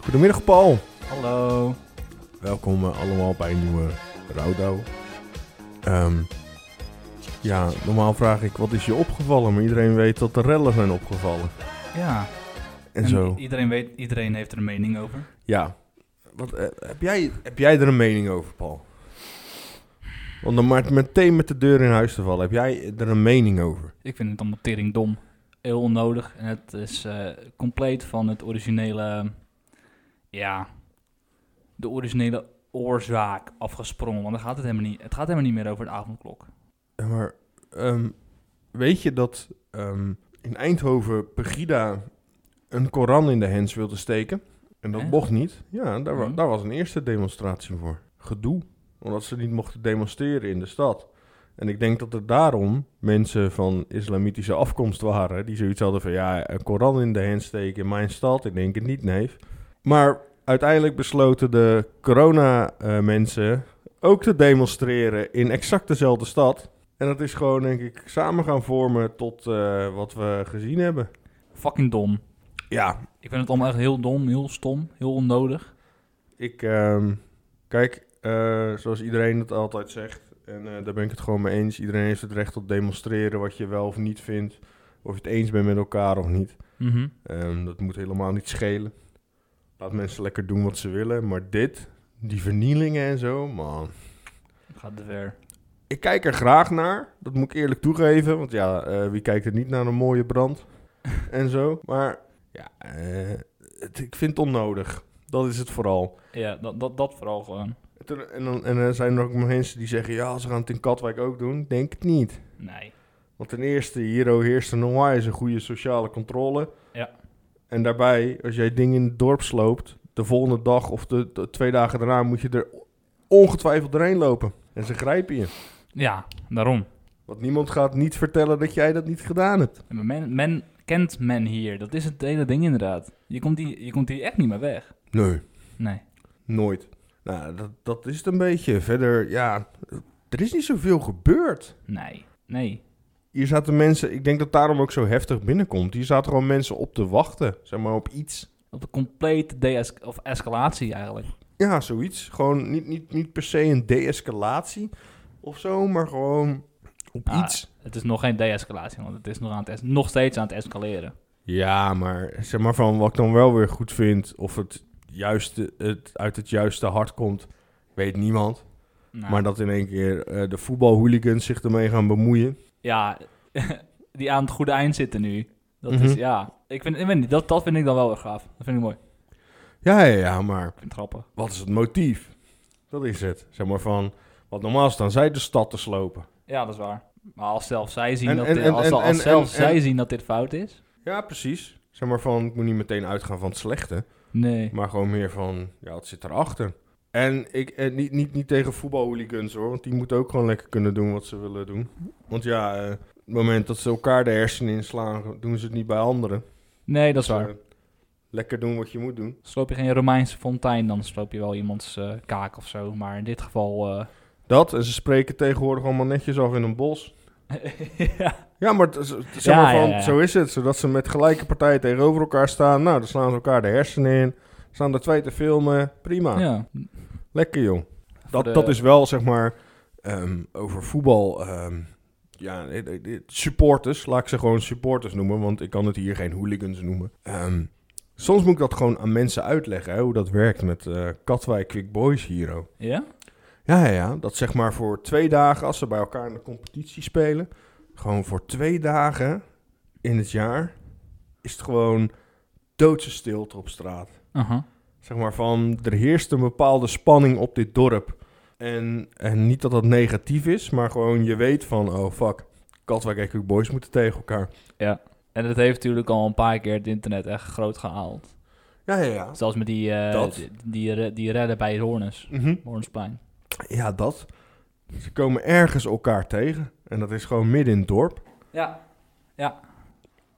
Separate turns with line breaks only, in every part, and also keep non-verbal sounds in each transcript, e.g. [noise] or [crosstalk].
Goedemiddag Paul.
Hallo.
Welkom eh, allemaal bij een nieuwe Rauwdouw. Ehm, ja, normaal vraag ik wat is je opgevallen, maar iedereen weet dat de rellen zijn opgevallen.
Ja.
En, zo.
Iedereen, weet, iedereen heeft er een mening over.
Ja. Wat, eh, heb, jij, heb jij er een mening over, Paul? Want om maar meteen met de deur in huis te vallen, heb jij er een mening over?
Ik vind het allemaal tering dom. Heel onnodig. En het is eh, compleet van het originele... Ja. De originele oorzaak afgesprongen. Want daar gaat het helemaal niet, het gaat helemaal niet meer over de avondklok.
Ja, Eh, maar ehm, weet je dat ehm, in Eindhoven Pegida een Koran in de hens wilde steken? En dat
Echt?
mocht niet. Ja, daar, wa-
Mhm.
daar was een eerste demonstratie voor. Gedoe. Omdat ze niet mochten demonstreren in de stad. En ik denk dat er daarom mensen van islamitische afkomst waren... die zoiets hadden van, ja, een Koran in de hens steken in mijn stad? Ik denk het niet, neef. Maar uiteindelijk besloten de corona-mensen ook te demonstreren in exact dezelfde stad. En dat is gewoon, denk ik, samen gaan vormen tot eh, wat we gezien hebben.
Fucking dom.
Ja,
Ik vind het allemaal echt heel dom, heel stom, heel onnodig.
ik, ehm, kijk, eh, zoals iedereen het altijd zegt, en eh, daar ben ik het gewoon mee eens. Iedereen heeft het recht op demonstreren wat je wel of niet vindt. Of je het eens bent met elkaar of niet.
Mhm.
Ehm, dat moet helemaal niet schelen. Laat mensen lekker doen wat ze willen. Maar dit, die vernielingen en zo, man.
Het gaat te ver.
Ik kijk er graag naar, dat moet ik eerlijk toegeven. Want ja, eh, wie kijkt er niet naar een mooie brand en zo. Maar ja, eh, het- ik vind het onnodig. Dat is het vooral.
Ja, dat, dat, dat vooral gewoon.
En toen- En dan en er zijn er ook mensen die zeggen, ja, ze gaan het in Katwijk ook doen. Denk het niet.
Nee.
Want ten eerste, hier oh, heerst een onwijs een goede sociale controle.
Ja.
En daarbij, als jij dingen in het dorp sloopt, de volgende dag of de, de twee dagen daarna moet je er ongetwijfeld doorheen lopen. En ze grijpen je.
Ja, daarom.
Want niemand gaat niet vertellen dat jij dat niet gedaan hebt.
Ja, maar Men, men kent men hier. Dat is het hele ding inderdaad. Je komt, hier, je komt hier echt niet meer weg.
Nee.
Nee.
Nooit. Nou, dat, dat is het een beetje. Verder, ja, er is niet zoveel gebeurd.
Nee. Nee.
Hier zaten mensen, ik denk dat daarom ook zo heftig binnenkomt. Hier zaten gewoon mensen op te wachten, zeg maar, op iets.
Op een complete de of escalatie eigenlijk.
Ja, zoiets. Gewoon niet, niet, niet per se een de-escalatie of zo, maar gewoon op
Ah.
iets.
Het is nog geen de-escalatie, want het is nog, aan het es- nog steeds aan het escaleren.
Ja, maar zeg maar van wat ik dan wel weer goed vind, of het, juiste, het uit het juiste hart komt, weet niemand.
Nou,
Maar dat in één keer eh, de voetbalhooligans zich ermee gaan bemoeien.
Ja, [laughs] die aan het goede eind zitten nu. Dat
Mhm.
is, ja. Ik vind, ik weet niet, dat, dat vind ik dan wel erg gaaf. Dat vind ik mooi. Ik
Ja, ja, ja, maar
vind het grappig.
wat is het motief? Dat is het. Zeg maar van, wat normaal staan zij de stad te slopen.
Ja, dat is waar. Maar als zelfs zij zien,
En-
dat,
en-
dit,
en-
als, als
en-
zelfs
en-
zij
en-
zien dat dit fout is...
Ja, precies. Zeg maar van, ik moet niet meteen uitgaan van het slechte.
Nee.
Maar gewoon meer van, ja, wat zit erachter? En ik, eh, niet, niet, niet tegen voetbalhooligans hoor, want die moeten ook gewoon lekker kunnen doen wat ze willen doen. Want ja, eh, het moment dat ze elkaar de hersenen inslaan, doen ze het niet bij anderen.
Nee, dat is waar.
Ze Lekker doen wat je moet doen.
Sloop je geen Romeinse fontein, dan sloop je wel iemands eh, kaak of zo. Maar in dit geval. eh,
Dat, en ze spreken tegenwoordig allemaal netjes af in een bos.
eh, [laughs] ja.
Ja, maar, t- z- t- zeg
Ja,
maar
ja,
van,
ja.
zo is het. Zodat ze met gelijke partijen tegenover elkaar staan. Nou, dan slaan ze elkaar de hersenen in. Staan er twee te filmen. Prima.
ja.
Lekker, joh.
Voor
Dat,
de-
Ah, dat is wel, zeg maar, ehm, over voetbal... ehm, ja, eh, eh, eh, supporters. Laat ik ze gewoon supporters noemen. Want ik kan het hier geen hooligans noemen. Ehm, soms moet ik dat gewoon aan mensen uitleggen. Hè, hoe dat werkt met eh, Katwijk Quick Boys Hero.
Ja?
Ja, ja, ja. Dat zeg maar voor twee dagen, als ze bij elkaar in de competitie spelen, gewoon voor twee dagen in het jaar, is het gewoon doodse stilte op straat.
Aha.
Zeg maar van, er heerst een bepaalde spanning op dit dorp. En, en niet dat dat negatief is, maar gewoon je weet van, oh fuck, Katwijk en Quick Boys moeten tegen elkaar.
En dat heeft natuurlijk al een paar keer het internet echt groot gehaald.
Ja, ja, ja.
Zelfs met die, eh,
Dat.
die, die, re- die redden bij Hoornes.
Mhm.
Hoornsplein.
Ja, dat. Ze komen ergens elkaar tegen. En dat is gewoon midden in het dorp.
Ja.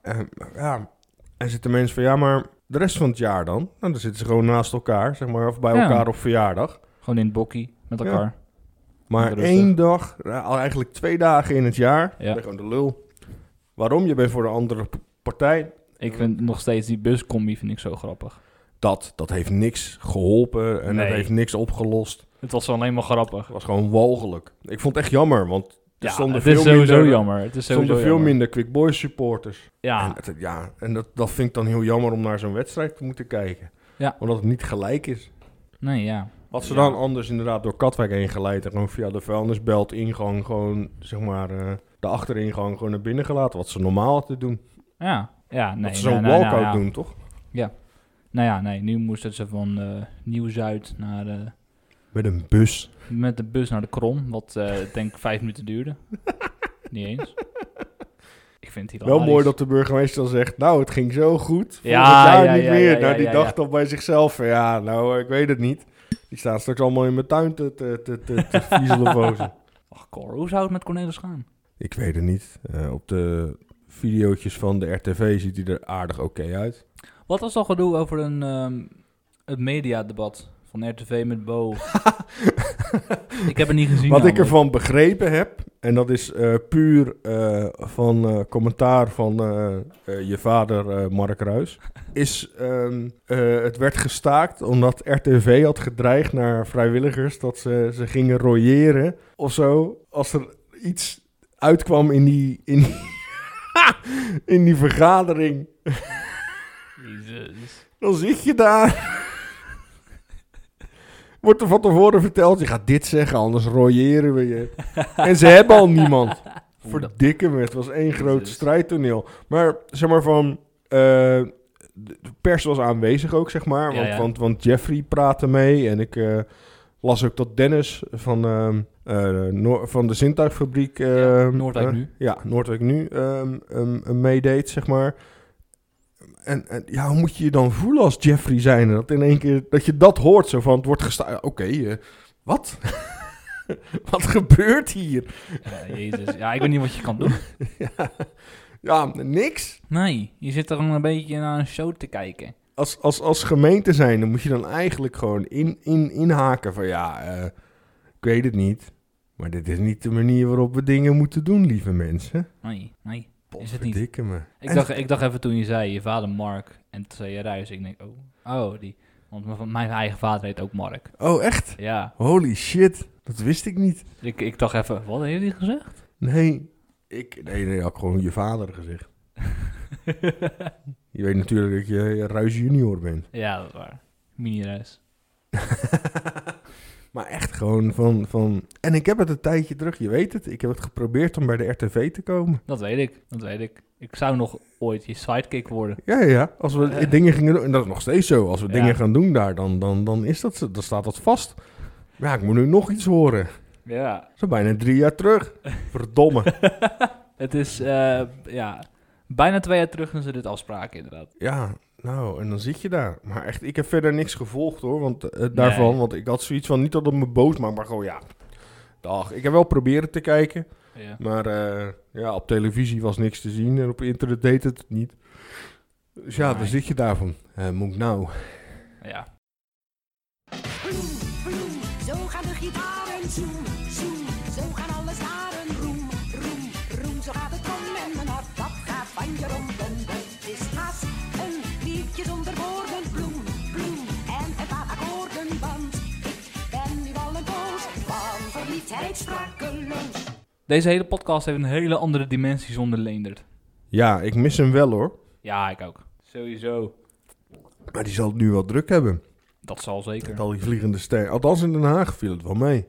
En, ja, en zitten mensen van, ja, maar de rest van het jaar dan? Nou, dan zitten ze gewoon naast elkaar, zeg maar, of bij
Ja.
elkaar op verjaardag.
Gewoon in het bokkie met
Ja.
elkaar.
Maar
Rustig.
één dag, nou, eigenlijk twee dagen in het jaar,
Ja.
ben je gewoon de lul. Waarom? Je bent voor de andere p- partij.
Ik vind nog steeds die buscombi vind ik zo grappig.
dat, dat heeft niks geholpen en
Nee.
dat heeft niks opgelost.
Het was alleen maar grappig.
Het was gewoon walgelijk. Ik vond het echt jammer, want er
Ja,
stonden
het
veel
is sowieso
minder,
jammer. Het is
Er stonden
sowieso
veel
jammer.
minder Quick Boys supporters. En,
Ja,
het- ja, en dat, dat vind ik dan heel jammer om naar zo'n wedstrijd te moeten kijken.
Ja.
Omdat het niet gelijk is.
nee, ja.
Wat ze
Ja.
dan anders inderdaad door Katwijk heen geleid en gewoon via de vuilnisbelt ingang gewoon, zeg maar, eh, de achteringang gewoon naar binnen gelaten. Wat ze normaal hadden doen.
Ja, ja nee.
dat ze zo'n
nou, nou,
walkout
nou, ja.
doen, toch?
Nou ja, nee, nu moesten ze van eh, Nieuw-Zuid naar, eh,
Met een bus.
met de bus naar de Krom, wat eh, ik denk [laughs] vijf minuten duurde. Niet eens. Ik vind het
Wel
hilarisch.
mooi dat de burgemeester dan zegt, nou, het ging zo goed. Volgend
Ja,
jaar
ja,
niet
ja,
meer.
ja,
nou,
ja,
die
ja, ja.
dacht dan bij zichzelf, van, ja, nou, ik weet het niet. Die staan straks allemaal in mijn tuin te, te, te, te,
[laughs]
te viezelen bozen.
Ach, Cor, hoe zou het met Cornelis gaan?
Ik weet het niet. Eh, op de videootjes van de RTV ziet hij er aardig oké uit.
Wat was dat gedoe over een, ehm, het mediadebat van RTV
[laughs]
met Bo? ik heb het niet gezien.
Wat ik
namelijk.
ervan begrepen heb, en dat is eh, puur eh, van eh, commentaar van eh, eh, je vader eh, Mark Ruis, is ehm, eh, het werd gestaakt omdat RTV had gedreigd naar vrijwilligers dat ze, ze gingen royeren of zo als er iets uitkwam in die, in die, [laughs] in die vergadering.
Jezus.
Dan zit je daar. Wordt er van tevoren verteld, je gaat dit zeggen, anders royeren we je. En ze hebben al niemand. Verdikke me, het was één groot
Jezus.
strijdtoneel. Maar zeg maar van, eh, de de pers was aanwezig ook, zeg maar.
Ja,
Want,
ja.
want, want Jeffrey praatte mee en ik eh, las ook dat Dennis van, ehm, eh, Noor- van de zintuigfabriek...
Ja,
ehm,
Noordwijk
eh,
nu.
ja, Noordwijk nu ehm, ehm, ehm, meedeed, zeg maar. En, en ja, hoe moet je je dan voelen als Jeffrey zijnde? Dat in één keer, dat je dat hoort, zo van, het wordt gestaan. Oké, eh, wat? [laughs] wat gebeurt hier? [laughs]
Ja, Jezus. Ja, ik weet niet wat je kan doen.
ja, ja, niks.
Nee, je zit er gewoon een beetje naar een show te kijken.
Als, als, als gemeente zijnde moet je dan eigenlijk gewoon in, in, inhaken van, ja, eh, ik weet het niet. Maar dit is niet de manier waarop we dingen moeten doen, lieve mensen.
Nee, nee. Is het niet.
Potverdikke me.
Ik
En-
dacht, ik dacht even toen je zei, je vader Mark. En toen zei je Ruijs. Ik denk, oh, oh die. Want mijn- mijn eigen vader heet ook Mark. [laughs]
Oh, echt?
Ja,
Holy shit, dat wist ik niet.
ik, ik dacht even, wat heeft hij gezegd?
Nee, ik nee, nee, had gewoon je vader gezegd. Je weet natuurlijk dat je eh, Ruis junior bent.
[laughs] ja, dat is waar. Mini-Ruijs.
maar echt gewoon van, van... En ik heb het een tijdje terug, je weet het. Ik heb het geprobeerd om bij de RTV te komen.
Dat weet ik, dat weet ik. Ik zou nog ooit je sidekick worden.
Ja, ja, ja. Als we
Eh.
dingen gingen doen... En dat is nog steeds zo. Als we
Ja.
dingen gaan doen daar, dan, dan, dan, is dat, zo- dan staat dat vast. Ja, ik moet nu nog iets horen.
Ja.
Zo bijna drie jaar terug. Verdomme.
Het is, eh, ja, bijna twee jaar terug dat ze dit afspraken inderdaad.
ja, nou, en dan zit je daar. Maar echt, ik heb verder niks gevolgd hoor, want, eh, daarvan.
Nee.
Want ik had zoiets van, niet dat het me boos maakt, maar gewoon ja... Dag. Ik heb wel proberen te kijken.
Ja.
Maar eh, ja, op televisie was niks te zien en op internet deed het het niet. Dus ja, dan
Nee.
zit je daarvan. Eh moet ik nou?
ja.
Bloem, bloem, zo gaan de gitaren zoem, zoem. Zo gaan alle staren roem, roem, roem. Zo gaat het om en mijn hart, dat gaat van je rond, om. Het is haast een liedje zonder woorden. Bloem, bloem, en een paar akkoorden, want ik ben nu al een poos van verliefdheid sprakeloos.
Deze hele podcast heeft een hele andere dimensie zonder Leendert.
Ja, ik mis hem wel hoor.
Ja, ik ook. Sowieso.
Maar die zal het nu wel druk hebben.
Dat zal zeker.
Met al die vliegende sterren. Althans in Den Haag viel het wel mee.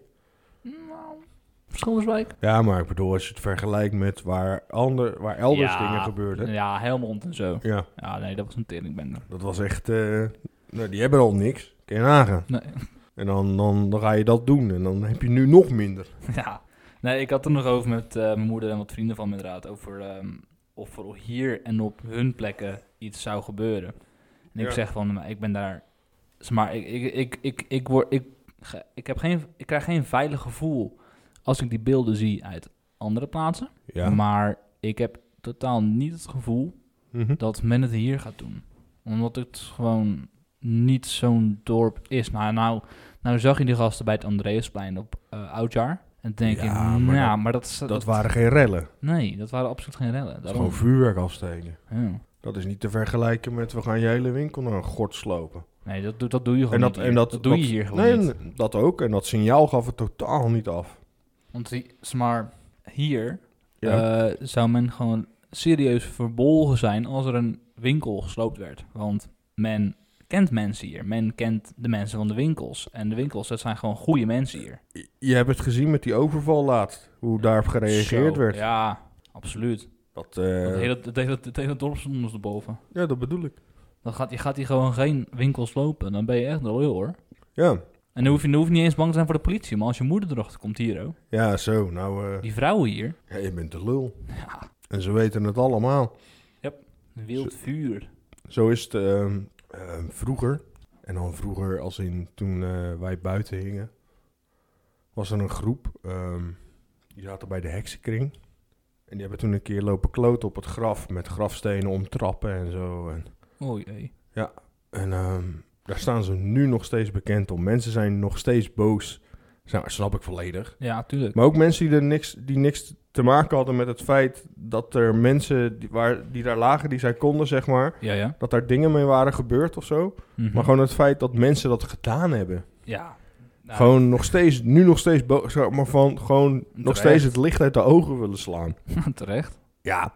Schilderswijk?
Ja, maar ik bedoel, als je het vergelijkt met waar, ander, waar elders
Ja,
dingen gebeurden.
Ja, Helmond en zo.
Ja,
Ja, nee, dat was een teringbender.
dat was echt... eh, nou, die hebben al niks. Kun je nagaan.
Nee. [laughs]
En dan, dan, dan ga je dat doen en dan heb je nu nog minder.
Ja. Nee, ik had het nog over met eh, mijn moeder en wat vrienden van me inderdaad. Over ehm, of er hier en op hun plekken iets zou gebeuren. En ik
Ja.
zeg van, maar ik ben daar... zeg Maar ik, ik, ik, ik, ik, word, ik, ge- ik, heb geen, ik krijg geen veilig gevoel als ik die beelden zie uit andere plaatsen.
Ja.
Maar ik heb totaal niet het gevoel
Mhm.
dat men het hier gaat doen. Omdat het gewoon niet zo'n dorp is. Nou, nou, nou zag je die gasten bij het Andreasplein op eh, Oudjaar. En toen denk
Ja,
ik,
maar
nou,
dat-
maar dat, is- dat,
Dat waren geen rellen.
Nee, dat waren absoluut geen rellen.
Dat is
Daarom,
gewoon vuurwerk afsteken.
ja.
Dat is niet te vergelijken met we gaan je hele winkel naar een gort slopen.
Nee, dat, doe- dat doe je gewoon
En dat,
niet hier.
en dat,
dat doe je hier gewoon
nee,
niet.
nee, dat ook. En dat signaal gaf het totaal niet af.
Want die- zeg maar, hier
Ja.
eh, zou men gewoon serieus verbolgen zijn als er een winkel gesloopt werd. Want men kent mensen hier. Men kent de mensen van de winkels. En de winkels, dat zijn gewoon goede mensen hier.
Je hebt het gezien met die overval laatst. Hoe daarop gereageerd
Zo,
werd.
Ja, absoluut.
Dat, eh,
Het hele, het hele, het hele dorp stond ons erboven.
Ja, dat bedoel ik.
Dan gaat, je gaat hier gewoon geen winkels lopen. Dan ben je echt loyal hoor.
Ja,
En dan hoef, je, dan hoef je niet eens bang te zijn voor de politie. Maar als je moeder erachter komt hier, oh,
ja zo. Nou, eh,
die vrouwen hier,
ja, je bent de lul. En ze weten het allemaal.
wild vuur.
Zo is het ehm, ehm, vroeger. En dan vroeger als in toen eh, wij buiten hingen. Was er een groep. ehm, die zaten bij de heksenkring. En die hebben toen een keer lopen kloten op het graf. Met grafstenen omtrappen en zo. En
Oh jee.
En ehm, daar staan ze nu nog steeds bekend om. Mensen zijn nog steeds boos. Nou, snap ik volledig.
Ja, tuurlijk.
Maar ook mensen die, er niks, die niks te maken hadden met het feit dat er mensen die, waar, die daar lagen, die zij konden, zeg maar,
Ja, ja.
dat daar dingen mee waren gebeurd of zo.
Mhm.
Maar gewoon het feit dat mensen dat gedaan hebben.
Ja. Nou,
Gewoon nog steeds, nu nog steeds boos, zeg maar van gewoon nog
Terecht.
steeds het licht uit de ogen willen slaan.
[laughs] Terecht.
Ja,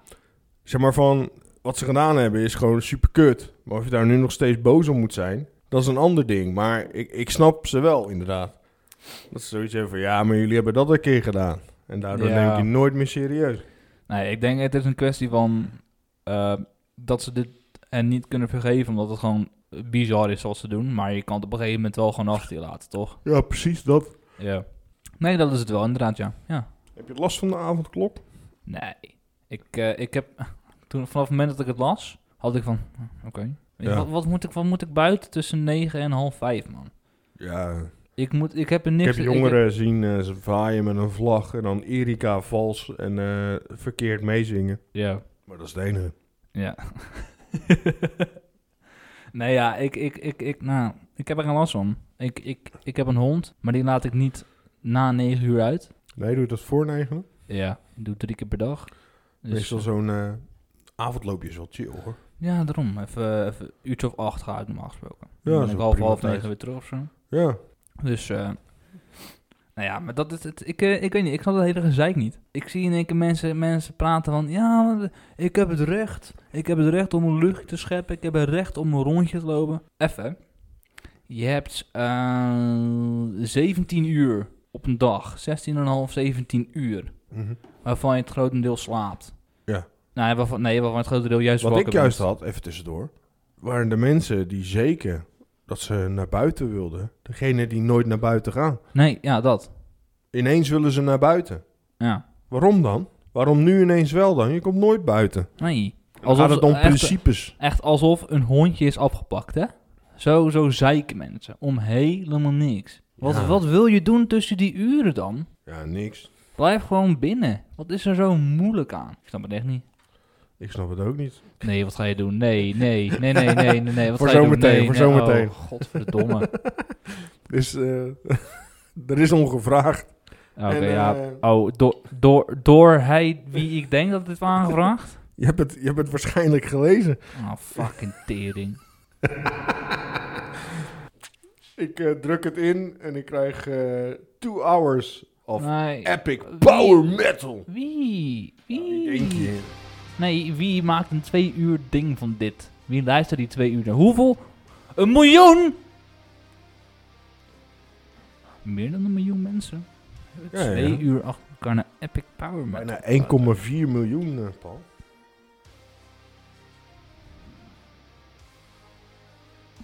zeg maar van wat ze gedaan hebben is gewoon super kut. Maar of je daar nu nog steeds boos om moet zijn, dat is een ander ding. Maar ik, ik snap ze wel, inderdaad. Dat ze zoiets hebben van ja, maar jullie hebben dat een keer gedaan. En daardoor
Ja.
neem ik je nooit meer serieus.
Nee, ik denk het is een kwestie van eh, dat ze dit en niet kunnen vergeven, omdat het gewoon bizar is wat ze doen. Maar je kan het op een gegeven moment wel gewoon achter je laten, toch?
Ja, precies dat.
Ja. Nee, dat is het wel, inderdaad, ja. ja.
Heb je last van de avondklok?
Nee. Ik, eh, ik heb, [laughs] toen, vanaf het moment dat ik het las, had ik van, "Hm, oké. Weet je,
Ja.
Wat, wat, moet ik, wat moet ik buiten tussen 9 en half 5, man?
Ja,
Ik, moet, ik heb er
ik
niks...
heb jongeren zien eh, ze vaaien met een vlag en dan Erika vals en eh, verkeerd meezingen.
ja.
Maar dat is de enige.
Ja. [laughs] nee, ja, ik, ik, ik, ik, nou, ik heb er geen last van. Ik, ik, ik heb een hond, maar die laat ik niet na negen uur uit.
Nee, doe je dat voor negen?
Ja. Ik doe drie keer per dag. Dus,
Meestal zo'n eh, avondloopje is wel chill hoor.
Ja, daarom. Even, even een uurtje of acht ga ik normaal gesproken.
Ja,
Dan
dat
ben
is
ik
een
half,
prima
half
tijd.
negen weer terug of zo.
Ja,
Dus, eh, nou ja, maar dat is het. Ik, eh, ik weet niet, ik snap dat hele gezeik niet. Ik zie in één keer mensen, mensen praten van, ja, maar ik heb het recht. Ik heb het recht om een luchtje te scheppen. Ik heb het recht om een rondje te lopen. Even. Je hebt eh, 17 uur op een dag. 16,5, 17 uur.
Mhm.
Waarvan je het grotendeel slaapt.
Ja.
Nee, waarvan, nee, waarvan het grotendeel juist
Wat
wakker
ik juist
bent.
had, even tussendoor, waren de mensen die zeker dat ze naar buiten wilden, degene die nooit naar buiten gaan.
Nee, ja, dat.
Ineens willen ze naar buiten.
Ja.
Waarom dan? Waarom nu ineens wel dan? Je komt nooit buiten.
Nee.
Als gaat
Alsof
het
ze
om
echt-
principes.
Echt alsof een hondje is afgepakt, hè? Zo, zo zeiken mensen. Om helemaal niks. Wat,
Ja.
wat wil je doen tussen die uren dan?
Ja, niks.
Blijf gewoon binnen. Wat is er zo moeilijk aan? Ik snap het echt niet.
Ik snap het ook niet.
Nee, wat ga je doen? Nee, nee, nee, nee, nee, nee. nee.
[laughs]
Wat
Voor
ga je doen?
zometeen,
Nee,
voor
nee.
zometeen.
Oh,
[laughs]
godverdomme.
Dus eh, [laughs] er is ongevraagd.
Oké,
En, eh,
ja. Oh, door, door, door hij wie ik denk dat het was aangevraagd?
je, hebt het, je hebt het waarschijnlijk gelezen.
Oh, fucking tering.
Ik eh, druk het in en ik krijg eh two hours of
Nee.
epic power metal.
Wie?
Wie
Wie?
denk je?
Nee, wie maakt een twee uur ding van dit? Wie luistert die twee uur naar? Hoeveel? Een miljoen! Meer dan een miljoen mensen.
Ja, ja.
twee uur achter elkaar naar Epic Power Metal.
Bijna 1,4 miljoen, eh, Paul.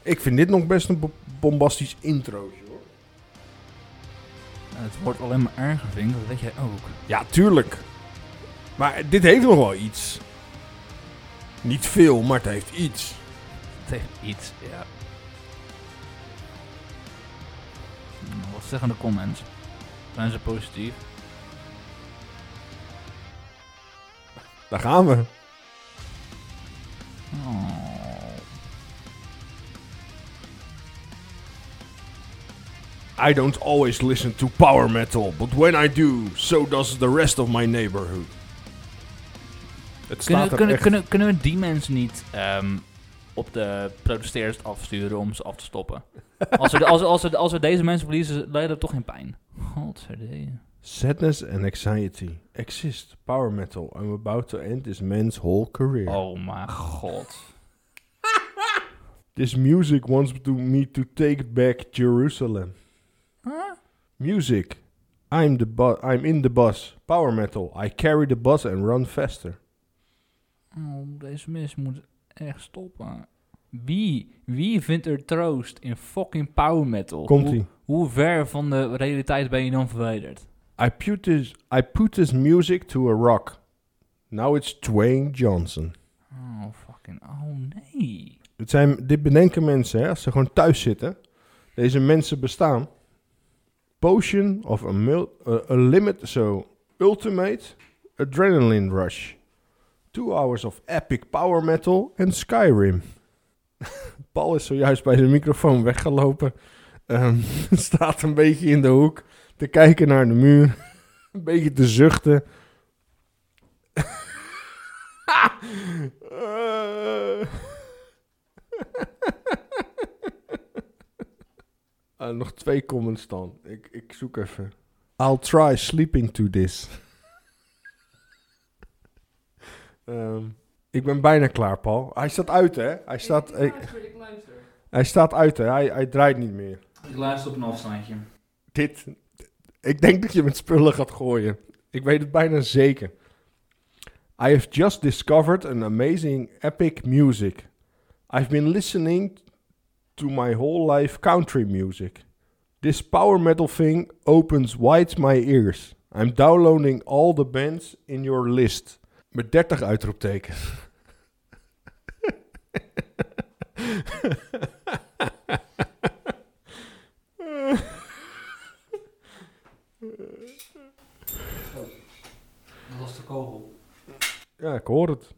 Ik vind dit nog best een bo- bombastisch introotje hoor.
Eh, Het wordt alleen maar erger, vind ik. Dat weet jij ook.
Ja, tuurlijk. Maar dit heeft nog wel iets. Niet veel, maar het heeft iets.
Het heeft iets, ja. Nou, Wat zeggen de comments? Zijn ze positief?
Daar gaan we.
Oh.
I don't always listen to power metal, but when I do, so does the rest of my neighborhood. Het staat
Kunnen,
er
kunnen,
echt-
kunnen, kunnen we die mensen niet ehm, op de protesteerders afsturen om ze af te
[laughs]
stoppen. als, we, de- als, we- als, we, als we deze mensen verliezen, lijden we toch geen pijn. Godzijde.
Sadness and anxiety exist. Power metal. I'm about to end this man's whole career.
Oh mijn god.
This music wants to me to take back Jerusalem. Music. I'm the bu- I'm in the bus. Power metal. I carry the bus and run faster.
Oh, deze mensen moeten echt stoppen. Wie, wie vindt er troost in fucking power metal?
Komt
Hoe-
ie.
Hoe ver van de realiteit ben je dan verwijderd?
I put this I put this music to a rock. Now it's Dwayne Johnson.
Oh, fucking. Oh, nee.
Het zijn, dit bedenken mensen, hè, als ze gewoon thuis zitten. Deze mensen bestaan. Potion of a, mil- eh, a limit, so ultimate adrenaline rush. Two hours of epic power metal en Skyrim. Paul is zojuist bij zijn microfoon weggelopen. Ehm, [laughs] staat een beetje in de hoek te kijken naar de muur. [laughs] een beetje te zuchten. [laughs] Eh. Eh, nog twee comments dan. Ik, ik zoek even. I'll try sleeping to this. Ehm, ik ben bijna klaar, Paul. Hij staat uit, hè? Hij staat, hij,
Ik luister.
hij staat uit, hè? Hij, hij draait niet meer.
Ik luister op een afstandje.
Dit. Ik denk dat je met spullen gaat gooien. Ik weet het bijna zeker. I have just discovered an amazing epic music. I've been listening to my whole life country music. This power metal thing opens wide my ears. I'm downloading all the bands in your list. Met 30 uitroeptekens.
Dat was de kogel.
Ja, ik hoor het.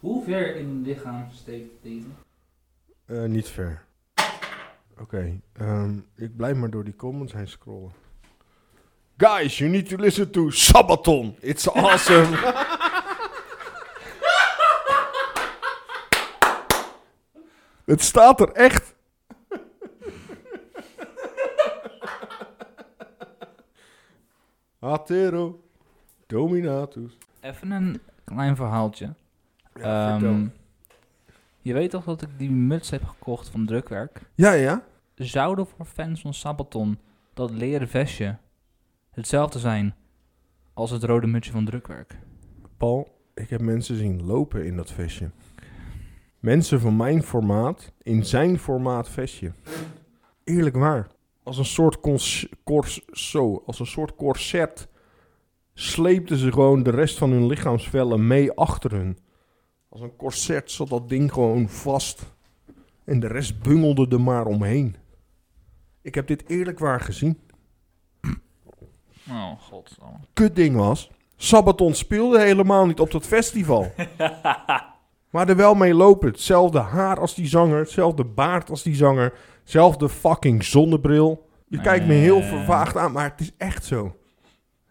Hoe ver in het lichaam steekt deze?
Eh, niet ver. Oké, ehm, ik blijf maar door die comments heen scrollen. Guys, you need to listen to Sabaton. It's awesome. [laughs] Het staat er echt. [laughs] Atero Dominatus.
Even een klein verhaaltje.
Ja,
Ehm,
vertel.
je weet toch dat ik die muts heb gekocht van drukwerk?
ja, ja.
Zouden voor fans van Sabaton dat leren vestje hetzelfde zijn als het rode mutsje van drukwerk?
Paul, ik heb mensen zien lopen in dat vestje. Mensen van mijn formaat in zijn formaat vestje. Eerlijk waar. Als een soort cons- cors zo, als een soort corset sleepten ze gewoon de rest van hun lichaamsvellen mee achter hun. Als een corset zat dat ding gewoon vast en de rest bungelde er maar omheen. Ik heb dit eerlijk waar gezien
Oh, god.
kutding was. Sabaton speelde helemaal niet op dat festival. maar er wel mee lopen. Hetzelfde haar als die zanger. Hetzelfde baard als die zanger. Hetzelfde fucking zonnebril. Je kijkt me heel
Eh.
vervaagd aan, maar het is echt zo.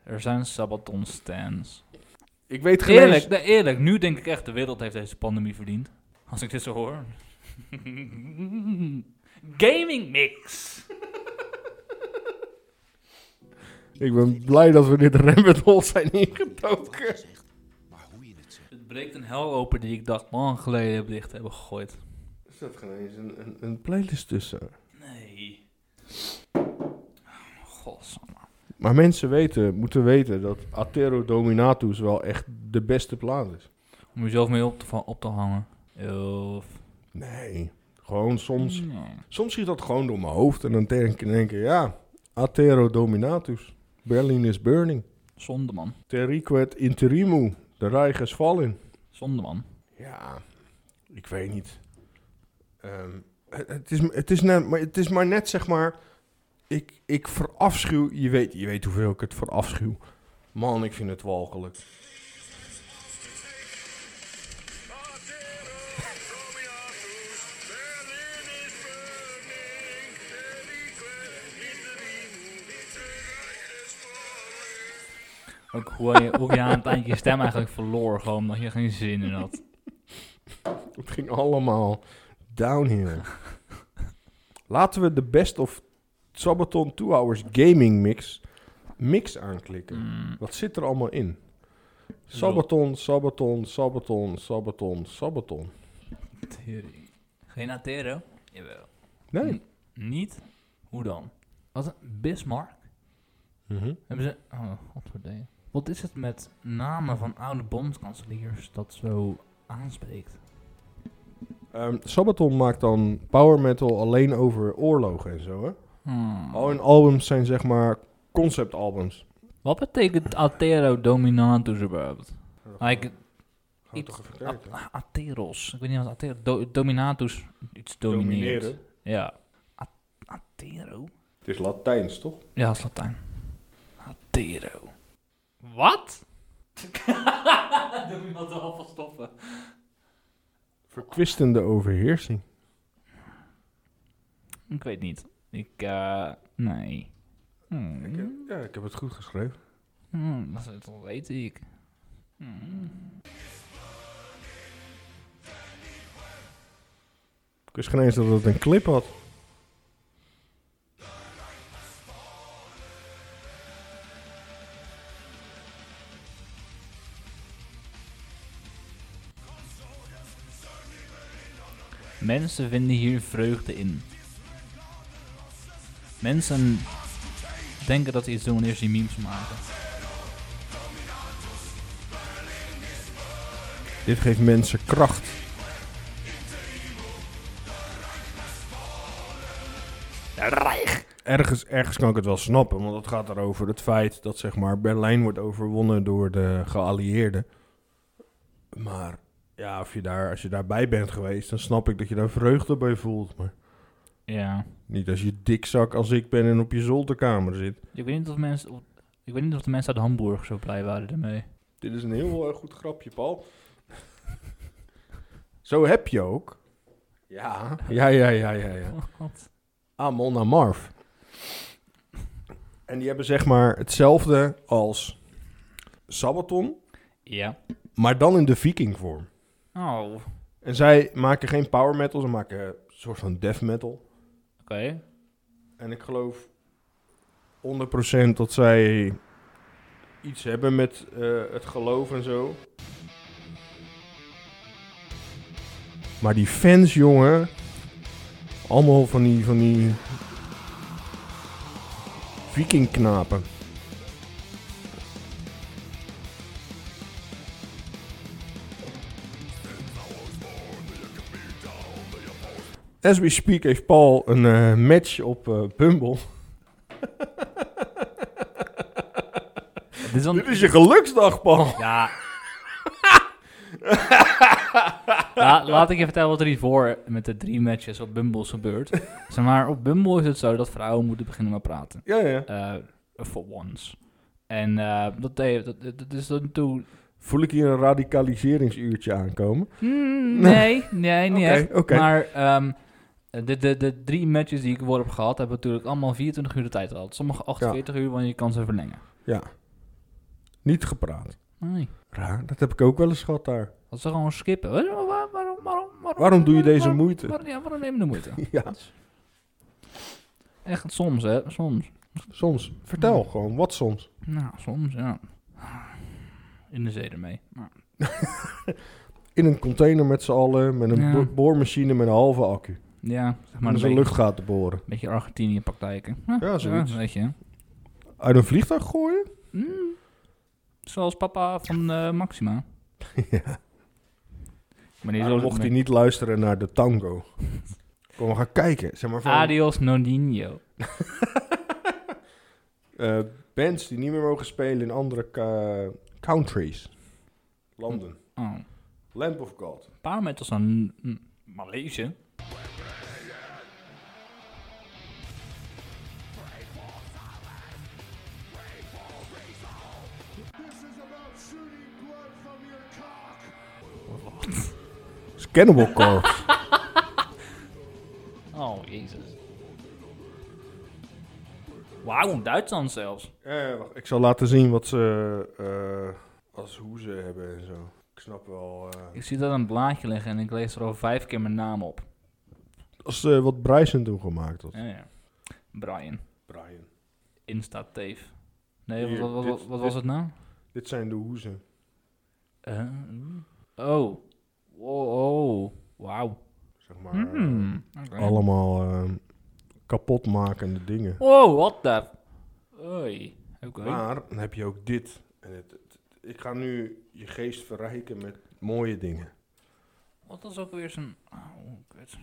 Er zijn Sabaton stands.
Ik weet geen
Eerlijk,
eens-
nee, eerlijk, nu denk ik echt de wereld heeft deze pandemie verdiend. Als ik dit zo hoor. [laughs] Gaming mix.
Ik ben blij dat we dit rabbit hole zijn ingedoken.
Het breekt een hel open die ik dacht lang geleden heb dicht hebben gegooid.
Er zat geen eens een, een, een playlist tussen.
Nee. Oh, Godsamme.
Maar mensen weten, moeten weten dat Atero Dominatus wel echt de beste plaat is.
Om jezelf mee op te, va- op te hangen. Of...
Nee, gewoon soms
Ja.
Soms schiet dat gewoon door mijn hoofd en dan denk ik, denk ik, ja, Atero Dominatus, Berlin is burning,
Zonde man.
Terrequet interimu, de Reich is fallen.
Zonde man.
Ja, ik weet niet. Ehm, het, het is, het, is net, maar het is maar net, zeg maar, ik, ik verafschuw, je weet, je weet hoeveel ik het verafschuw. Man, ik vind het walgelijk.
Ook hoe je, hoe je aan het eindje je stem eigenlijk verloor, gewoon omdat je geen zin in had.
[laughs] Het ging allemaal downhill. Laten we de best of Sabaton 2 Hours Gaming Mix mix aanklikken.
Mm,
Wat zit er allemaal in? Sabaton, Sabaton, Sabaton, Sabaton, Sabaton.
tering. Geen Atero? Jawel.
Nee.
Niet? Hoe dan? Wat een Bismarck?
Mhm.
Hebben ze... Oh, godverdelen. Wat is het met namen van oude bondskanseliers dat zo aanspreekt?
Ehm, Sabaton maakt dan power metal alleen over oorlogen en zo, hè?
Hmm.
Al hun albums zijn zeg maar conceptalbums.
Wat betekent Atero Dominatus überhaupt? Like,
Gaan we
iets-
toch even kijken.
A- Ateros. Ik weet niet wat Ateros... Do- dominatus iets domineert. Ja. A- Atero?
Het is Latijns, toch?
Ja, dat is Latijn. Atero. Wat? [laughs] Doe iemand er al van stoppen.
Verkwistende overheersing.
Ik weet niet. Ik, eh... Nee. Hmm.
Ik heb, ja, ik heb het goed geschreven.
Hmm, dat is- dat weet ik. Hmm.
Ik wist geen eens dat het een clip had.
Mensen vinden hier vreugde in. Mensen denken dat ze iets doen wanneer ze die memes maken.
Dit geeft mensen kracht. Ergens, ergens kan ik het wel snappen, want het gaat erover het feit dat zeg maar, Berlijn wordt overwonnen door de geallieerden. Maar ja, of je daar, als je daarbij bent geweest, dan snap ik dat je daar vreugde bij voelt. Maar
Ja.
niet als je dikzak als ik ben en op je zolderkamer zit.
Ik weet niet of mensen... of- ik weet niet of de mensen uit Hamburg zo blij waren ermee.
Dit is een heel eh, goed grapje, Paul. Zo heb je ook. Ja. Ja, ja, ja, ja, ja.
[laughs] Oh, God.
Amon Amarf. En die hebben zeg maar hetzelfde als Sabaton,
Ja.
maar dan in de vikingvorm.
Oh, oké.
En zij maken geen power metal, ze maken een soort van death metal. En ik geloof 100% dat zij iets hebben met eh, het geloof en zo. Maar die fans, jongen, allemaal van die, van die vikingknapen. As we speak heeft Paul een eh, match op eh, Bumble.
Dit is
[laughs]
dan...
Dit is je geluksdag, Paul.
Ja.
[laughs]
La- laat ik je vertellen wat er hiervoor met de drie matches op Bumble is
[laughs]
gebeurd. Zeg maar, op Bumble is het zo dat vrouwen moeten beginnen met praten.
Ja, ja.
Eh, for once. En eh, dat deed... Dat, dat, dat is dan toen...
Voel ik hier een radicaliseringsuurtje aankomen?
Hmm, nee, nee, niet
Oké,
echt.
oké.
Maar ehm, de, de, de drie matches die ik ervoor heb gehad, hebben natuurlijk allemaal 24 uur de tijd gehad. Sommige 48 uur, want je kan ze verlengen.
Ja. Niet gepraat.
Nee.
Raar, dat heb ik ook wel eens gehad daar.
Dat ze gewoon skippen. Waar- waar- Waarom, waarom, waarom,
Waarom doe je deze
waarom-
moeite?
Waarom, ja, waarom neem je de moeite? [laughs]
Ja,
Echt soms, hè? Soms.
soms. Vertel
Hmm.
gewoon, wat soms?
Nou, soms, ja. In de zee ermee. Nou,
In een container met z'n allen, met een
Ja.
bo- boormachine met een halve accu.
ja, zeg maar
Maar om
een
zijn
beetje,
luchtgaten boren.
beetje Argentinië-praktijken.
Ja, zoiets.
weet je.
Uit een vliegtuig gooien?
Mm. Zoals papa van eh,
[laughs]
Maxima.
ja.
Maar die
Maar
zullen-
Nou, mocht hij niet luisteren naar de
[laughs]
tango. Kom, we gaan kijken. Zeg maar van
Adios Nonino.
eh, bands die niet meer mogen spelen in andere ka- countries. Landen.
Oh.
Lamp of God.
Paar metals aan mm, Maleisië.
Is Cannibal Corpse.
Oh, jezus. Wauw, Duitsland zelfs.
[laughs] Eh, wacht, ik zal laten zien wat ze eh, als hoe ze hebben en zo. Ik snap wel. eh,
Ik zie dat een blaadje liggen en ik lees er al vijf keer mijn naam op.
als ze wat Bryson toen gemaakt had.
Ja, ja. Brian.
Brian.
Insta-teef. Nee,
Hier,
wat, wat, wat,
dit-
wat was
dit-
het nou?
Dit zijn de hoezen.
Eh, oh. Wow. oh. Wauw.
Zeg maar.
Hmm, oké.
eh, allemaal eh, kapotmakende dingen.
Wow, what the... Oei. Oké.
Maar dan heb je ook dit. En het, het- ik ga nu je geest verrijken met mooie dingen.
Wat was ook weer zijn... Oh, kut.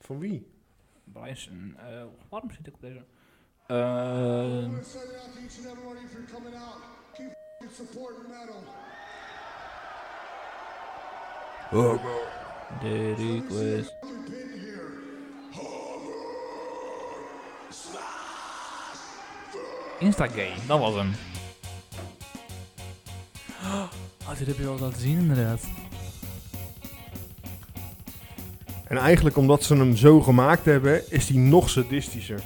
Van wie?
Bryson. eh, waarom zit ik op deze... Eh,
want to send it out to each and every one of you for coming out. Keep f***ing supporting metal.
de request.
We've been here.
Instagay, dat was hem. Oh, dit heb je wel eens laten zien inderdaad.
En eigenlijk omdat ze hem zo gemaakt hebben, is hij nog sadistischer.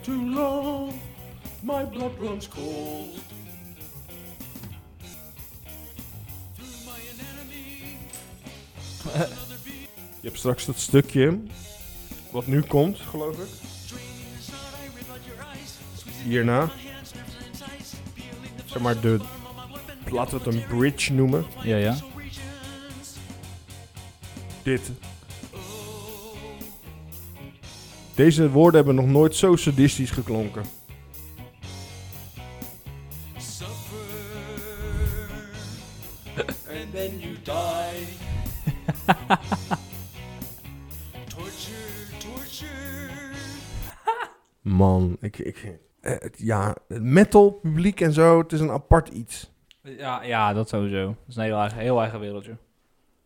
too long, my blood runs cold. Je hebt straks dat stukje wat nu komt, geloof ik. Hierna. Zeg maar de, laten we het een bridge noemen.
Ja, ja.
Dit. Deze woorden hebben nog nooit zo sadistisch geklonken.
and then you die. torture, torture.
Man, ik... ik eh, het- ja, het metal publiek en zo, het is een apart iets.
Ja, ja, dat sowieso. Dat is een heel eigen, heel eigen wereldje.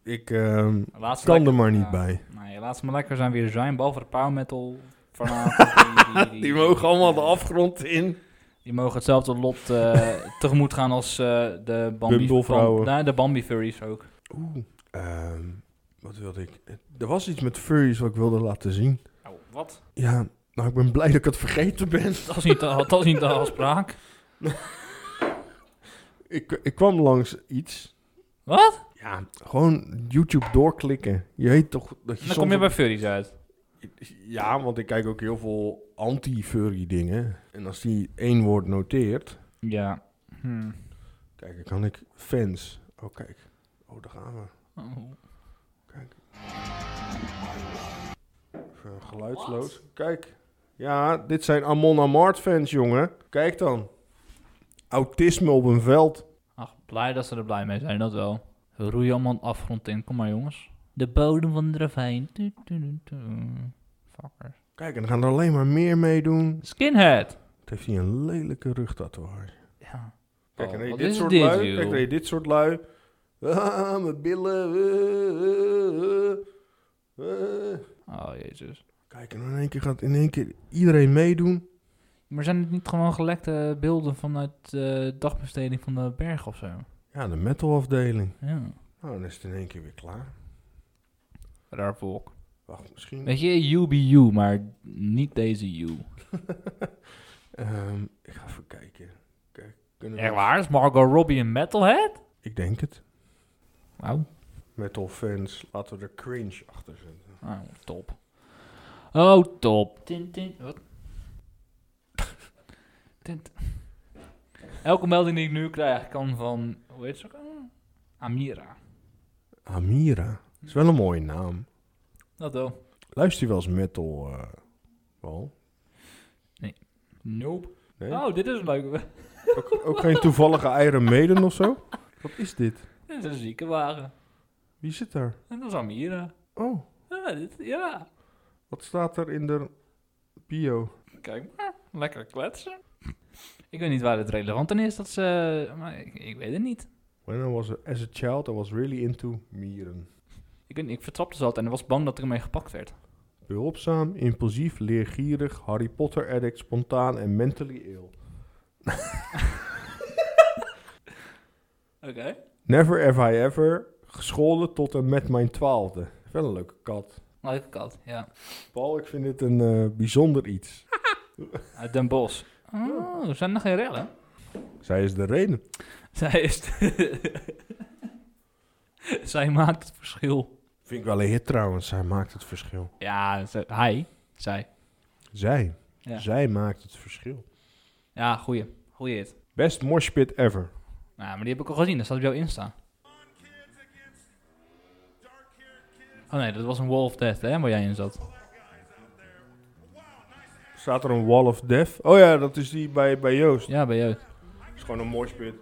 Ik ehm,
Laatst
kan
lekker-
er maar niet
ja.
bij.
Nee, laat ze maar lekker zijn weer zijn. Behalve de power metal
[laughs]
vanavond. die, die-
afgrond in.
Die mogen hetzelfde
[laughs]
lot eh, tegemoet gaan als eh, de Bambi...
Bumblevrouwen.
Bam- nee, de Bambi Furries ook.
Oeh. Ehm, wat wilde ik? Eh, Er was iets met furries wat ik wilde laten zien.
Oh, wat?
Ja, nou ik ben blij dat ik het vergeten ben.
[laughs] Dat is niet de, dat is [laughs] niet de afspraak.
Ik, ik kwam langs iets.
Wat?
Ja, gewoon YouTube doorklikken. Je weet toch dat je
Dan kom
soms
je bij Furries uit.
Ja, want ik kijk ook heel veel anti-furry dingen. En als die één woord noteert...
Ja. Hm.
Kijk, dan kan ik fans. Oh, kijk. Oh, daar gaan we.
Oh.
Even geluidsloos. Kijk. Ja, dit zijn Amon Amart fans, jongen. Kijk dan. Autisme op een veld.
Ach, blij dat ze er blij mee zijn, dat wel. We roeien allemaal een afgrond in, kom maar jongens. De bodem van de ravijn. Tu, tu, tu, tu. Fuckers.
Kijk, en dan gaan er alleen maar meer meedoen.
Skinhead!
Het heeft hij een lelijke rugtatoeage.
Ja.
Kijk,
Oh,
en hey,
wat
dit
is
soort
dit,
lui.
joh?
Kijk, hey, dit soort lui. [laughs] Ah, mijn billen. eh, eh, eh, eh.
Oh, jezus.
Kijk, en nou, in één keer gaat in één keer iedereen meedoen.
Maar zijn het niet gewoon gelekte beelden vanuit de dagbesteding van de berg of zo?
Ja, de metalafdeling.
Ja.
Nou, dan is het in één keer weer klaar.
Raar volk.
Wacht, misschien.
Weet je, you be you, maar niet deze you.
Ehm, ik ga even kijken. Kijk, kunnen we-
Echt waar? Is Margot Robbie een metalhead?
Ik denk het.
Wauw.
Metal fans, laten we er cringe achter zetten.
Oh, top. Oh, top. Tin, tin. Wat? [laughs] Tin, tin. Elke melding die ik nu krijg kan van, hoe heet ze ook? alweer? Amira.
Amira. Is wel een mooie naam.
Dat wel.
Luister je wel eens metal? eh wel?
Nope.
Nee?
Oh, dit is een leuke.
Ook, ook geen toevallige Iron Maiden of zo? Wat is dit?
[laughs] dit is een ziekenwagen.
Wie zit daar?
En dat is Amira.
Oh,
Ja, dit, ja.
wat staat er in de bio?
Kijk maar. Lekker kletsen. Ik weet niet waar het relevant aan is, dat ze... Maar ik, ik weet het niet.
When I was a- as a child, I was really into mieren.
Ik, weet niet, ik vertrapte ze altijd en was bang dat ik ermee gepakt werd.
Behulpzaam, impulsief, leergierig, Harry Potter addict, spontaan en mentally ill.
Oké.
Never have I ever gescholden tot en met mijn twaalfde. Wel een leuke kat.
Leuke kat, ja.
Paul, ik vind dit een eh, bijzonder iets.
Uit Den Bosch. Oh, zijn er geen rellen?
Zij is de reden.
[laughs] Zij is... [laughs] Zij maakt het verschil.
Vind ik wel een hit trouwens. Zij maakt het verschil.
Ja, ze- hij. Zij.
Zij.
Ja.
Zij maakt het verschil.
Ja, goeie. Goeie hit.
Best moshpit ever.
Nou, maar die heb ik al gezien. Dat staat op jouw Insta. Oh nee, dat was een Wall of Death, hè, waar jij in zat.
Staat er een wall of death? Oh ja, dat is die bij, bij Joost.
Ja, bij jou.
Dat is gewoon een moshpit.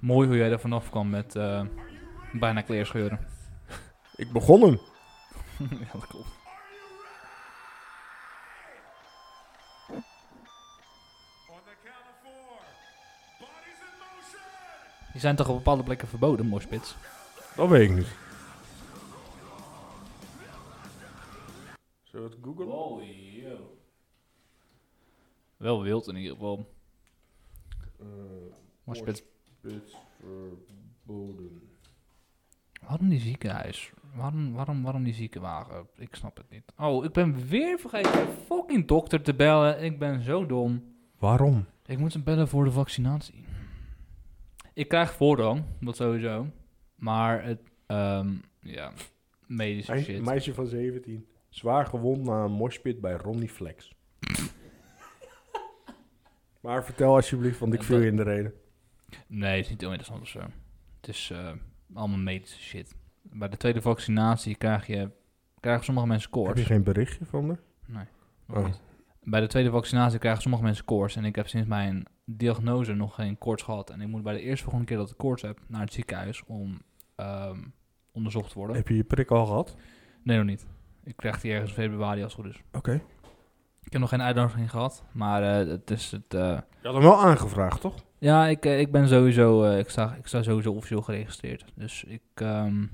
Mooi hoe jij er vanaf kwam met eh, bijna kleerscheuren.
Ik begon hem.
[laughs] ja, dat klopt. Die zijn toch op bepaalde plekken verboden, morspits?
Dat weet ik niet. Zullen we het googlen?
Wel wild in ieder geval. Morspits.
Moshpits verboden.
Waarom die ziekenhuis? Waarom, waarom, waarom die ziekenwagen? Ik snap het niet. Oh, ik ben weer vergeten een fucking dokter te bellen. Ik ben zo dom.
Waarom?
Ik moet hem bellen voor de vaccinatie. Ik krijg voorrang, dat sowieso. Maar het, ehm, ja, medische shit.
meisje van 17. Zwaar gewond na een moshpit bij Ronnie Flex.
[laughs]
maar vertel alsjeblieft, want ik
Ja,
viel
dat-
je in de reden.
Nee, het is niet heel interessant of zo. Het is eh, allemaal medische shit. Bij de tweede vaccinatie krijg je, krijgen sommige mensen koorts.
Heb je geen berichtje van haar?
Nee. nog
Oh.
niet. Bij de tweede vaccinatie krijgen sommige mensen koorts. En ik heb sinds mijn diagnose nog geen koorts gehad. En ik moet bij de eerste volgende keer dat ik koorts heb naar het ziekenhuis om ehm, onderzocht te worden.
Heb je je prik al gehad?
Nee, nog niet. Ik krijg die ergens in februari als het goed is.
Oké.
Ik heb nog geen uitnodiging gehad. Maar eh, het is het. eh,
Je had hem wel aangevraagd, toch?
ja, ik, eh, ik ben sowieso. eh, ik, sta, ik sta sowieso officieel geregistreerd. Dus ik ehm,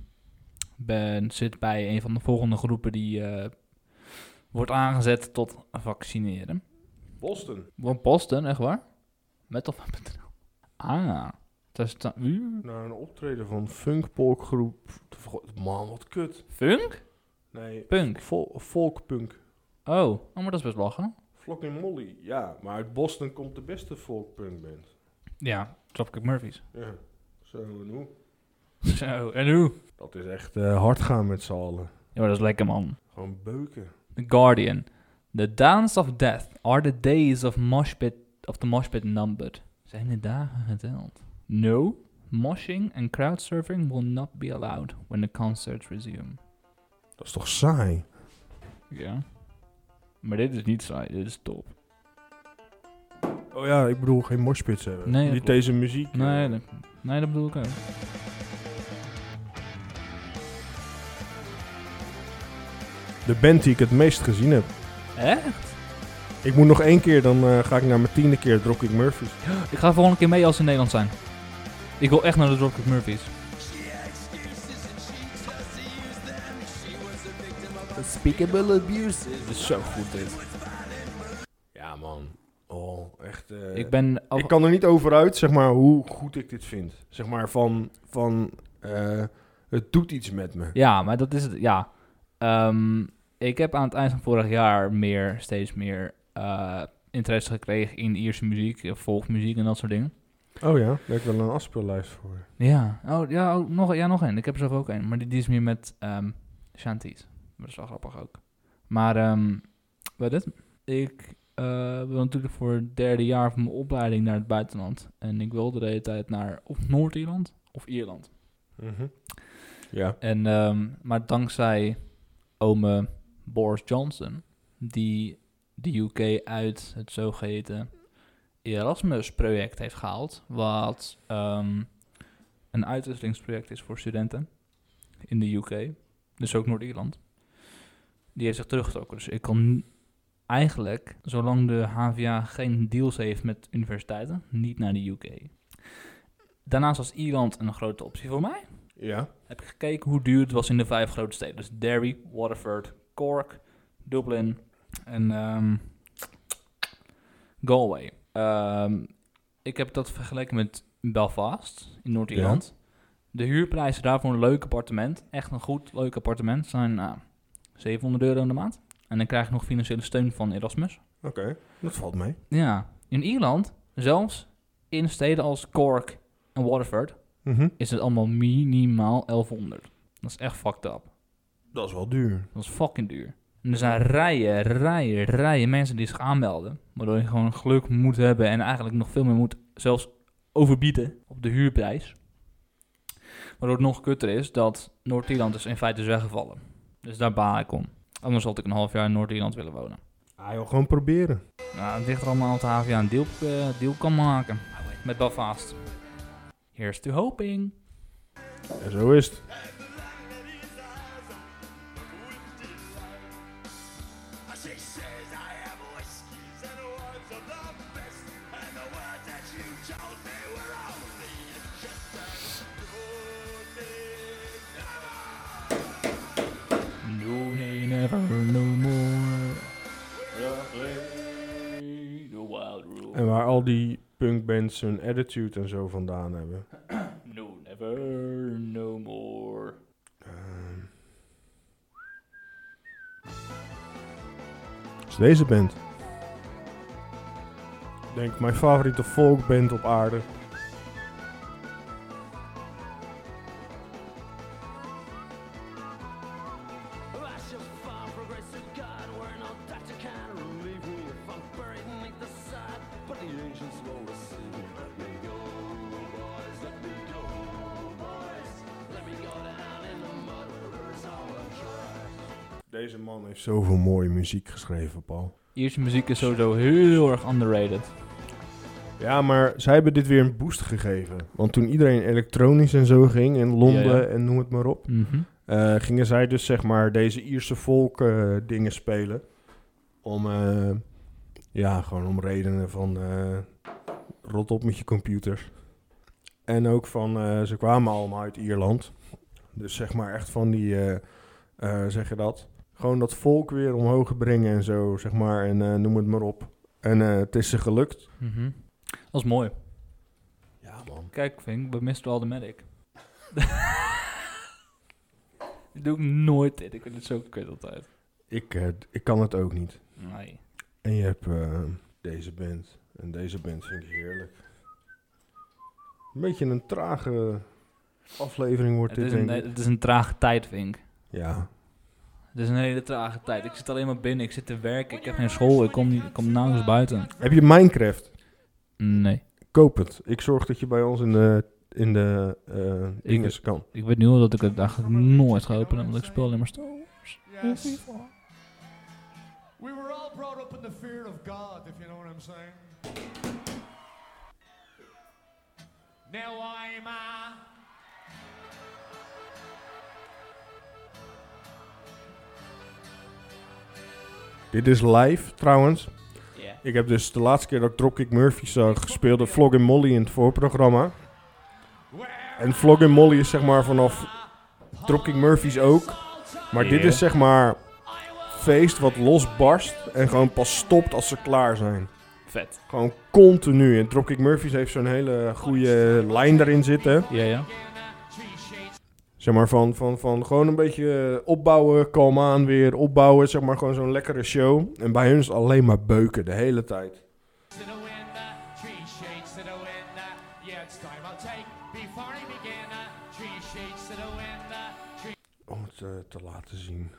ben, zit bij een van de volgende groepen die eh, wordt aangezet tot vaccineren.
Boston.
Van Boston, echt waar? Met of met- Ah, daar staat... u-
Naar een optreden van funkpolkgroep. Man, wat kut.
Funk?
Nee,
Punk.
vol, folkpunk.
Oh, oh, maar dat is best lachen.
Flocking Molly, ja. Maar uit Boston komt de beste folkpunkband.
Ja, Dropkick Murphys.
Ja, zo en hoe.
[laughs] Zo, en hoe?
Dat is echt eh, hard gaan met z'n allen.
Ja, maar dat is lekker, man.
Gewoon beuken.
The Guardian. The dance of death are the days of moshpit... Of the moshpit numbered. Zijn de dagen geteld? No. Moshing and crowdsurfing will not be allowed when the concerts resume.
Dat is toch saai?
Ja. Maar dit is niet saai, dit is top.
Oh ja, ik bedoel geen morspits hebben.
Nee, dat
Niet
klopt.
deze muziek. eh.
Nee, dat, nee, dat bedoel ik ook.
De band die ik het meest gezien heb.
Echt?
Ik moet nog één keer, dan eh, ga ik naar mijn tiende keer Dropkick Murphys.
Ik ga volgende keer mee als ze in Nederland zijn. Ik wil echt naar de Dropkick Murphys.
Unspeakable abuse.
Dit is zo goed dit.
Ja man. Oh, echt. eh,
Ik ben... af-
Ik kan er niet over uit, zeg maar, hoe goed ik dit vind. Zeg maar, van... van eh, het doet iets met me.
Ja, maar dat is het. Ja. Ehm, ik heb aan het eind van vorig jaar meer, steeds meer eh, interesse gekregen in Ierse muziek, eh, volksmuziek en dat soort dingen.
Oh ja, daar heb ik wel een afspeellijst voor.
Ja, oh, ja, oh, nog, ja nog één. Ik heb er zelf ook één. Maar die, die is meer met ehm shanties. Maar dat is wel grappig ook. Maar ehm wat is het? Ik eh, wil natuurlijk voor het derde jaar van mijn opleiding naar het buitenland. En ik wilde de hele tijd naar of Noord-Ierland of Ierland.
Mhm. Ja.
En, ehm, maar dankzij ome Boris Johnson, die de UK uit het zogeheten Erasmus-project heeft gehaald, wat ehm, een uitwisselingsproject is voor studenten in de UK, dus ook Noord-Ierland, die heeft zich teruggetrokken. Dus ik kan n- eigenlijk, zolang de HVA geen deals heeft met universiteiten, niet naar de UK. Daarnaast was Ierland een grote optie voor mij
Ja.
heb ik gekeken hoe duur het was in de vijf grote steden. Dus Derry, Waterford, Cork, Dublin en ehm, Galway. Ehm, ik heb dat vergeleken met Belfast in Noord-Ierland. De huurprijzen daarvoor een leuk appartement, echt een goed leuk appartement, zijn nou, 700 euro in de maand. En dan krijg je nog financiële steun van Erasmus.
Oké, dat valt mee.
Ja, in Ierland, zelfs in steden als Cork en Waterford,
Mhm.
is het allemaal minimaal 1100. Dat is echt fucked up.
Dat is wel duur.
Dat is fucking duur. En er zijn rijen, rijen, rijen mensen die zich aanmelden. Waardoor je gewoon geluk moet hebben en eigenlijk nog veel meer moet zelfs overbieden op de huurprijs. Waardoor het nog kutter is dat Noord-Ierland is in feite is weggevallen. Dus daar baal ik om. Anders had ik een half jaar in Noord-Ierland willen wonen.
Ah joh, gewoon proberen.
Nou, het ligt er allemaal aan of de HVA een deal, eh, deal kan maken. Met Belfast. Here's to hoping.
En zo is het.
She says I have whiskeys and words of the best, and the words that you chose me were only just a good thing.
No, they never, no more. The wild rule.
En waar al die punkbands hun attitude en zo vandaan hebben.
No, never, no more.
Ehm. Dat is deze band. Ik Denk mijn favoriete folkband op aarde. Deze man heeft zoveel mooie muziek geschreven, Paul.
Ierse muziek is sowieso heel erg underrated.
Ja, maar zij hebben dit weer een boost gegeven. Want toen iedereen elektronisch en zo ging, in Londen
Ja, ja.
en noem het maar op,
Mhm.
eh, gingen zij dus zeg maar deze Ierse volk eh, dingen spelen. Om, eh, ja, gewoon om redenen van eh, rot op met je computers. En ook van, eh, ze kwamen allemaal uit Ierland. Dus zeg maar echt van die, eh, eh, zeg je dat? Gewoon dat volk weer omhoog brengen en zo, zeg maar. En eh, noem het maar op. En eh, het is ze gelukt.
Mhm. Dat is mooi.
Ja, man.
Kijk, Vink, we misten al de medic. [laughs] Dat doe ik nooit dit. Ik vind het zo kut altijd.
Ik, eh, ik kan het ook niet.
Nee.
En je hebt eh, deze band. En deze band vind ik heerlijk. Een beetje een trage aflevering wordt
Het is,
dit,
een,
denk ik.
het is een trage tijd, Vink.
Ja.
Het is een hele trage tijd. Ik zit alleen maar binnen. Ik zit te werken. Ik heb geen school. Ik kom, niet, ik kom nauwelijks buiten.
Heb je Minecraft?
Nee.
Koop het. Ik zorg dat je bij ons in de, in de eh dinges kan.
Ik weet nu al dat ik het eigenlijk nooit ga openen, want ik speel alleen maar stil.
Yes. We were all brought up in the fear of God, if you know what I'm saying. Now I'm a.
Dit is live, trouwens.
Ja.
Ik heb dus de laatste keer dat ik Dropkick Murphy zag, speelde Vlog Molly in het voorprogramma. En Vlog Molly is zeg maar vanaf Dropkick Murphys ook. Maar dit
Ja.
is zeg maar feest wat losbarst en gewoon pas stopt als ze klaar zijn.
Vet.
Gewoon continu. En Dropkick Murphys heeft zo'n hele goede lijn daarin zitten.
Ja, ja.
Zeg maar van, van, van gewoon een beetje opbouwen, kalm aan weer, opbouwen. Zeg maar gewoon zo'n lekkere show. En bij hun is het alleen maar beuken de hele tijd.
To the winner, three shades to the winner. Yeah, it's time I'll take before I begin. uh, Three shades to the winner. Three
Om het eh, te laten zien.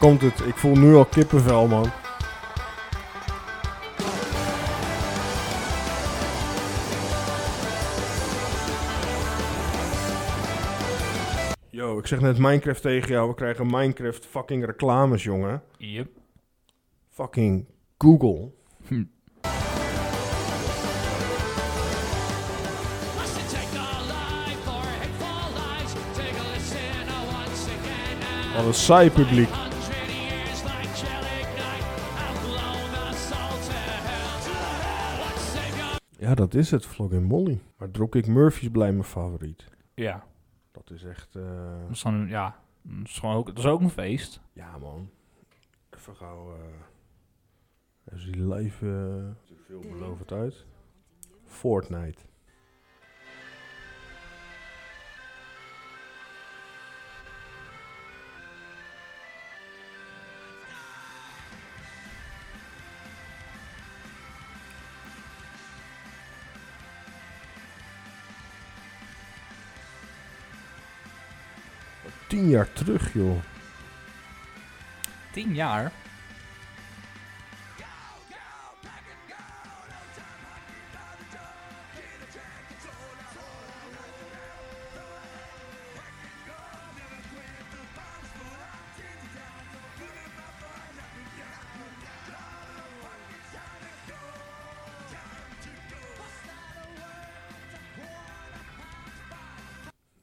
Komt het, ik voel nu al kippenvel man. Yo, ik zeg net Minecraft tegen jou, we krijgen Minecraft fucking reclames jongen.
Yep.
Fucking Google.
uh,
Wat een saai publiek. Ja, dat is het, Vlog en Molly. Maar Dropkick Murphys blijft mijn favoriet.
Ja.
Dat is echt... eh,
Dat is dan, ja. Dat is, gewoon ook, dat is ook een feest.
ja, man. even gauw. eh even die live. eh ziet er veelbelovend uit. Fortnite. Tien jaar terug, joh.
Tien jaar?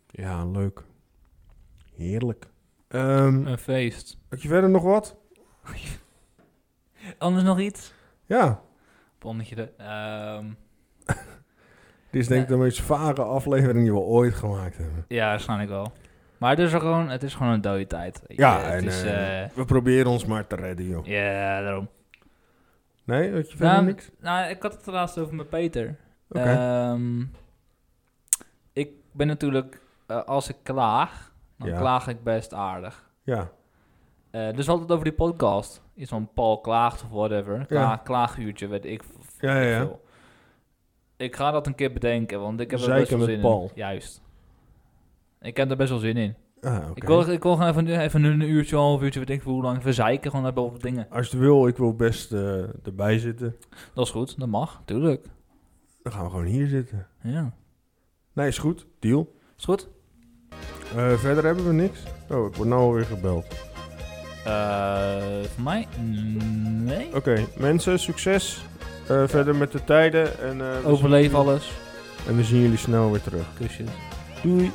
Ja, leuk. Heerlijk. Ehm
Een feest.
had je verder nog wat?
Anders nog iets?
Ja.
Bonnetje de... ehm,
Dit is denk ik de meest vage aflevering die we ooit gemaakt hebben.
ja, waarschijnlijk wel. Maar het is, er gewoon, het is gewoon een dode tijd.
Ja,
het
en,
is...
eh,
eh,
we proberen ons maar te redden, joh.
ja, daarom.
Nee, had je verder
Nou,
niks?
nou, ik had het er laatst over met Peter.
Oké.
Ehm, ik ben natuurlijk... eh, als ik klaag, dan
Ja.
klaag ik best aardig.
Ja,
Eh, dus we hadden het over die podcast. Iets van Paul klaagt of whatever. Kla Klaaguurtje, weet ik v-
Ja, ja, ja.
veel. Ik ga dat een keer bedenken, want ik heb er
Zeiken
best wel
met
zin
Paul.
in. Juist. Ik heb er best wel zin in.
ah, oké.
Ik, wil, ik wil gewoon even, nu- even een uurtje, een half uurtje, weet ik veel hoe lang, verzeiken gewoon even over dingen.
Als je het wil, ik wil best eh, erbij zitten.
Dat is goed, dat mag, tuurlijk.
Dan gaan we gewoon hier zitten.
Ja.
Nee, is goed. Deal.
Is goed?
Eh, verder hebben we niks. Oh, ik word nou alweer gebeld.
Eh, voor mij? Nee.
Oké, mensen, succes. Eh, verder met de tijden. En, eh, we zien
Overleef
jullie-
alles.
En we zien jullie snel weer terug.
Kusjes.
Doei.